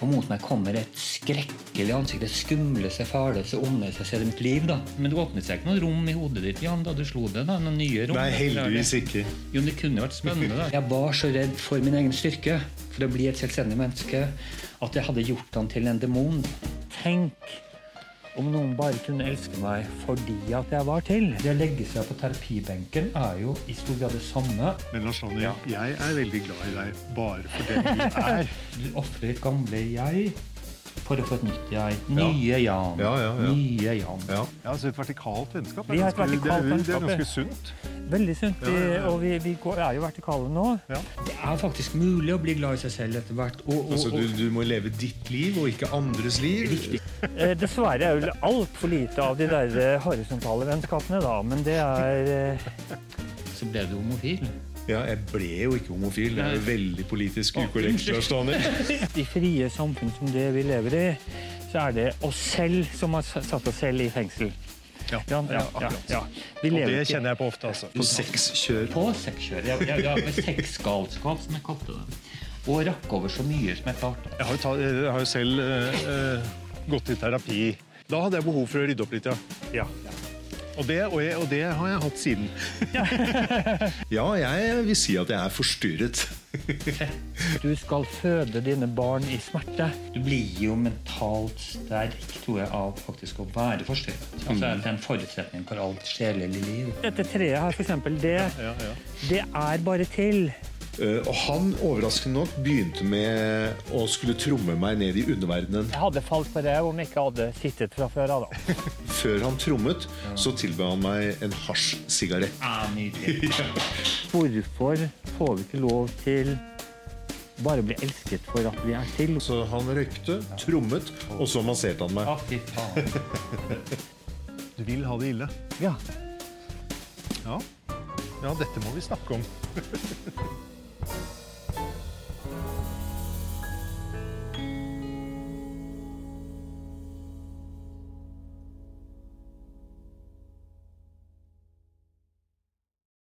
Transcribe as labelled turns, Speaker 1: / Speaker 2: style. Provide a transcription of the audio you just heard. Speaker 1: Og mot meg kommer et skrekkelig ansikt. Det skumleste, fæleste, ondeste jeg ser i mitt liv. da. Men det åpnet seg ikke noen rom i hodet ditt Jan, da du slo det? da, noen nye rom?
Speaker 2: Nei, heldigvis ikke.
Speaker 1: Jo, men det kunne vært spennende. da. Jeg var så redd for min egen styrke, for å bli et selvstendig menneske, at jeg hadde gjort han til en demon. Tenk om noen bare kunne elske meg fordi at jeg var til. Det å legge seg på terapibenken er jo i stor grad det samme.
Speaker 2: Men Lars Ronny, jeg er veldig glad i deg bare for den du er.
Speaker 1: Du ofrer ditt gamle jeg for å få et nytt jeg. Nye Jan.
Speaker 2: Ja, ja, ja.
Speaker 1: Nye Jan.
Speaker 2: Ja, altså Et vertikalt vennskap
Speaker 1: Vi
Speaker 2: er
Speaker 1: har et
Speaker 2: ganske, det
Speaker 1: vertikalt
Speaker 2: er, jo- det er
Speaker 1: vennskap,
Speaker 2: ganske
Speaker 1: ja.
Speaker 2: sunt.
Speaker 1: Veldig sunt.
Speaker 2: Ja, ja, ja.
Speaker 1: Og vi, vi går, er jo vertikale nå.
Speaker 2: Ja.
Speaker 1: Det er faktisk mulig å bli glad i seg selv etter hvert. Og, og,
Speaker 2: Altså, du,
Speaker 1: og,
Speaker 2: du må leve ditt liv og ikke andres liv. Riktig.
Speaker 1: Eh,
Speaker 3: Dessverre er vel altfor lite av de der eh, horisontale vennskapene, da. Men det er eh,
Speaker 1: så ble du homofil.
Speaker 2: Ja, jeg ble jo ikke homofil. Det er jo veldig politisk ukorrekt. Lars Daniel.
Speaker 3: I frie samfunn som det vi lever i, så er det oss selv som har s- satt oss selv i fengsel.
Speaker 2: Ja,
Speaker 3: Ja, ja, ja, ja. Vi
Speaker 4: Og
Speaker 3: lever
Speaker 4: det
Speaker 3: ikke
Speaker 4: kjenner jeg på ofte, altså.
Speaker 2: På sexkjør.
Speaker 1: På sexkjøret. Jeg, jeg, jeg ble sexgalskap, som jeg kalte det. Og rakk over så mye som jeg klarte.
Speaker 4: Jeg har jo, ta, jeg har jo selv eh, eh, gått i terapi. Da hadde jeg behov for å rydde opp litt, ja.
Speaker 3: Ja.
Speaker 4: Og det, og, jeg, og det har jeg hatt siden.
Speaker 2: Ja, jeg vil si at jeg er forstyrret.
Speaker 3: Du skal føde dine barn i smerte.
Speaker 1: Du blir jo mentalt sterk, tror jeg, av faktisk å være forstyrret.
Speaker 3: Mm.
Speaker 1: Altså, det er en forutsetning for alt sjelelig liv.
Speaker 3: Dette treet her, for eksempel, det, det er bare til.
Speaker 2: Eh, Og han, overraskende nok, begynte med å skulle tromme meg ned i underverdenen.
Speaker 3: Jeg hadde falt på ræv om jeg ikke hadde sittet fra før av, da.
Speaker 2: Før han trommet, så tilbød han meg en hasjsigarett.
Speaker 1: Er nydelig.
Speaker 3: Hvorfor får vi ikke lov til bare å bli elsket for at vi er til?
Speaker 2: Så han røykte, trommet, og så masserte han meg.
Speaker 1: Å, fy faen.
Speaker 4: Du vil ha det ille.
Speaker 3: Ja.
Speaker 4: Ja, dette må vi snakke om.